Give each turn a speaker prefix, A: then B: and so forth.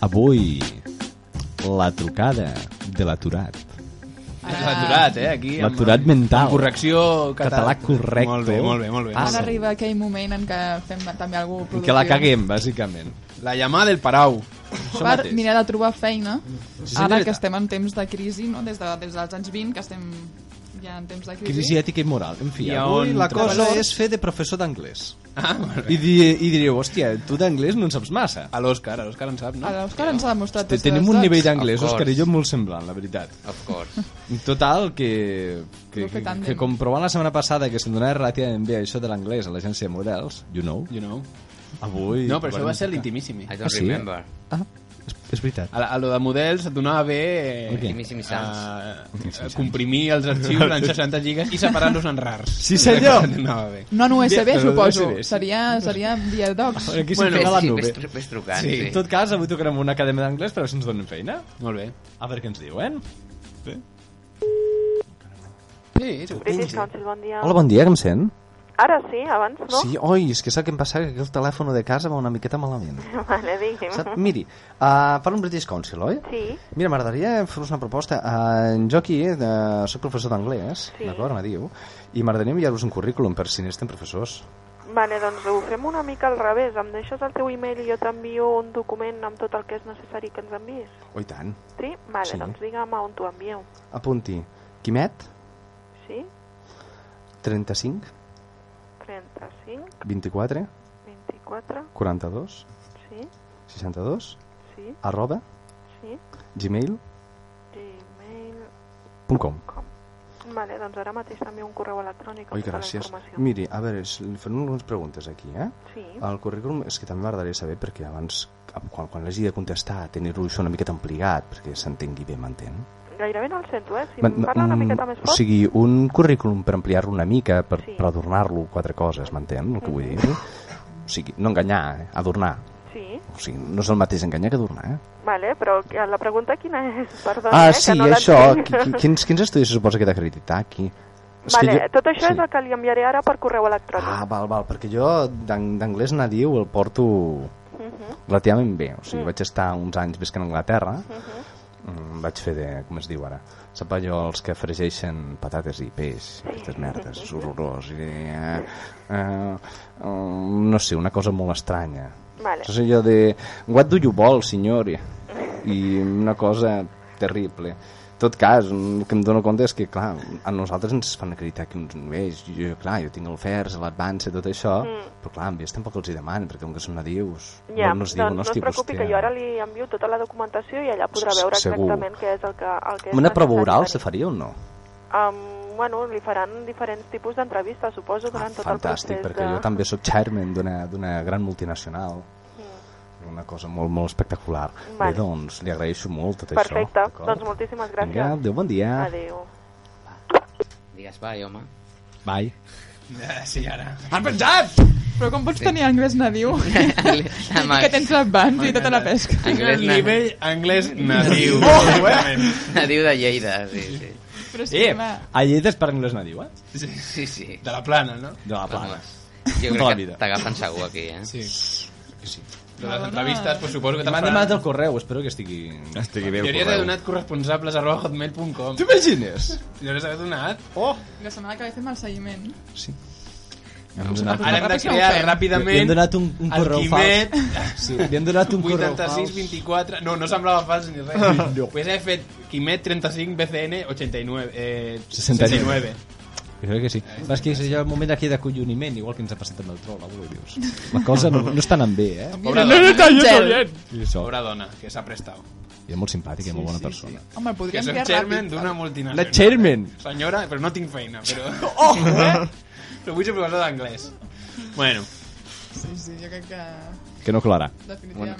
A: Avui, la trucada de l'aturat.
B: L'aturat, eh, aquí. amb-
A: L'aturat mental.
B: amb Correcció català.
A: Català correcte.
C: Molt bé, molt bé, molt bé.
A: Ah,
D: Ara arriba aquell moment en què fem també algú
A: En
D: productiu.
A: què la caguem, bàsicament.
C: La llamada del Parau.
A: Això
D: Per
A: mateix.
D: mirar de trobar feina, ara
C: senyoreta.
D: que estem en temps de crisi, no? des, de, des dels anys 20, que estem ja en temps de crisi.
A: Crisi ètica i moral. En fi,
C: I
A: avui
C: on
A: la cosa
C: treballes?
A: és fer de professor d'anglès.
C: Ah, molt
A: I,
C: bé.
A: di I direu, hòstia, tu d'anglès no en saps massa.
C: A l'Òscar, a l'Òscar en sap, no?
D: L'Òscar ens ha demostrat
A: Te-
D: tots
A: Tenim
D: els
A: un
D: jocs.
A: nivell d'anglès,
E: Of course.
A: Òscar i jo, molt semblant, la veritat.
E: Of course.
A: En Total, que, que,
D: No fer
A: que,
D: tàndem.
A: que comprovant la setmana passada que se'n donava relativament bé això de l'anglès a l'agència de models, you know,
C: You know.
A: avui...
C: No, però això
A: volem
C: va ser
A: tocar.
C: l'intimíssimi.
E: I
A: Ah,
E: don't
A: sí?
E: remember.
A: Ah, és, és veritat.
C: A, la- a lo de models et donava bé...
A: Ok.
E: Intimíssimi sants.
C: a- a comprimir els arxius en 60 gigas i separar-los en rars.
A: Sí, senyor.
C: Anava bé.
D: No en USB,
A: Però no
D: suposo.
A: decideix.
D: Seria, seria via docs.
A: Aquí
C: Bueno,
A: bueno, la
E: sí,
A: nube.
E: ves, tru- ves trucant,
C: Sí,
E: sí.
A: En tot cas, avui tocarem una acadèmia d'anglès per veure si ens donen feina.
C: Molt bé.
A: A veure què ens diuen.
C: Sí, sí.
F: British Council, bon dia.
A: Hola, bon dia, que em sent?
F: Ara sí, abans no?
A: Sí, oi, és que sap què em passa? Que el telèfon de casa va una miqueta malament.
F: Vale, digui'm.
A: Sap? Miri, uh, parlo amb British Council, oi?
F: Sí,
A: Mira, m'agradaria fer-vos una proposta. Uh, jo aquí eh, de- soc professor d'anglès,
F: Sí.
A: d'acord, me diu, i m'agradaria enviar-vos un currículum per si n'estem professors.
F: vale, doncs ho fem una mica al revés. Em deixes el teu e-mail i jo t'envio un document amb tot el que és necessari que ens envies.
A: Oi tant.
F: Sí? Vale,
A: Sí.
F: doncs digue'm a on t'ho envieu.
A: Apunti. Quimet,
F: Sí?
A: 35,
F: 35,
A: 24,
F: 24,
A: 42,
F: sí,
A: 62,
F: sí,
A: arroba,
F: sí,
A: gmail.com.
F: gmail.com. Vale, doncs ara mateix t'envio un correu electrònic amb
A: Oi,
F: tota la
A: gràcies.
F: informació.
A: Miri, a veure, s- li farem algunes preguntes aquí, eh?
F: Sí,
A: El currículum és que també m'agradaria saber perquè abans, quan, quan l'hagi de contestar, tenir-ho això una miqueta ampliat perquè s'entengui bé, m'entén?
F: gairebé no el sento, eh? Si
A: Ma-
F: em parla una
A: mm,
F: miqueta més
A: O
F: fort,
A: sigui, un currículum per ampliar-lo una mica, per,
F: Sí.
A: per adornar-lo quatre coses, m'entén el que vull dir? O sigui, no enganyar, eh? adornar.
F: sí.
A: O sigui, no és el mateix enganyar que adornar, eh?
F: Vale, però que- la pregunta quina és? Perdona,
A: ah,
F: eh,
A: sí,
F: que no
A: això.
F: l'entenc.
A: qui- qui- Quins, quins estudis se suposa que t'ha acreditar aquí? És que
F: Vale,
A: jo-
F: tot això
A: sí.
F: és el que li enviaré ara per correu electrònic.
A: Ah, val, val, perquè jo d'ang- d'anglès nadiu el porto
F: Mhm.
A: relativament bé. O sigui, vaig estar uns anys visquent a Anglaterra, mm, vaig fer de, com es diu ara, sap allò els que fregeixen patates i peix, aquestes merdes, és horrorós, i, eh, eh, eh, no sé, una cosa molt estranya.
F: Vale.
A: És allò de, what do you vol, senyor? I una cosa terrible. En tot cas, el que em dono compte és que, clar, a nosaltres ens fan acreditar que uns nivells, jo, clar, jo tinc el FERS, l'Advance, tot això, mm. però clar, a ells tampoc els hi demanen, perquè com que són nadius,
F: Ja,
A: no, no es
F: doncs
A: diuen,
F: no es
A: hòstia,
F: preocupi que jo ara li envio tota la documentació i allà podrà
A: Se-
F: veure
A: segur.
F: exactament què és el que, el que és
A: Una prova
F: necessari
A: oral se
F: tenir.
A: faria o no?
F: Um, bueno, li faran diferents tipus d'entrevistes, suposo,
A: Ah,
F: durant tot
A: fantàstic,
F: el procés.
A: perquè
F: de...
A: jo també sóc chairman d'una d'una gran multinacional. Una cosa molt, molt espectacular.
F: Mm. Vale.
A: Bé, doncs, li agraeixo molt tot
F: Perfecte,
A: això. d'acord?
F: doncs moltíssimes gràcies.
A: Vinga, adéu, bon dia.
F: Adéu.
E: Digues, vai, home.
A: Bye.
C: Ah, Sí, ara. Han pensat!
D: Però com pots tenir anglès nadiu?
E: La
D: que tens l'advans i tota la pesca.
E: Anglès
C: El
E: na-
C: nivell anglès natiu. Exactament.
E: Nadiu de Lleida, sí, sí.
D: Però sí,
A: Eh,
D: home,
A: a Lleida es parla anglès nadiu, eh?
E: Sí, sí.
C: De la plana, no?
A: De la plana.
E: Vamos. Jo
A: Tota la
E: crec
A: vida.
E: que t'agafen segur aquí, eh?
C: Sí. De les entrevistes, pues, suposo que
A: M'ha
C: te'n
A: animat
C: faran.
A: el correu, espero que estigui... Estigui
C: Li hauries de donat corresponsables arroba hotmail.com.
A: T'imagines?
C: Li hauries d'haver donat.
A: Oh!
D: la setmana que ve fem el seguiment.
A: Sí. Doncs Hem donat,
D: Ah,
C: Ara hem de
D: ràpid,
C: crear
D: ho fem.
A: li hem
C: ràpidament
A: donat un, un
C: el
A: correu
C: Quimet
A: fals. Sí, li hem donat un correu
C: 86
A: fals.
C: 24 No, no semblava fals ni res no. Pues he fet Quimet 35 BCN 89 eh,
A: 69.
C: 69
A: Jo crec que sí. Però és que és allò, el moment aquí d'acolloniment, igual que ens ha passat amb el troll, avui dius. La cosa no, no està anant bé, eh?
C: Pobra
D: Mira,
C: dona,
D: no, gel.
A: I això,
C: pobra dona que s'ha prestat
A: i és molt simpàtic, és molt bona persona.
D: Home, el
C: que
D: podríem
C: soc
D: fer
C: chairman
D: ràpid.
C: d'una multinacional
A: La chairman.
C: senyora però no tinc feina però oh, eh? però vull ser professor d'anglès bueno
D: Sí, sí, jo crec que
A: Que no colarà.
D: definitivament.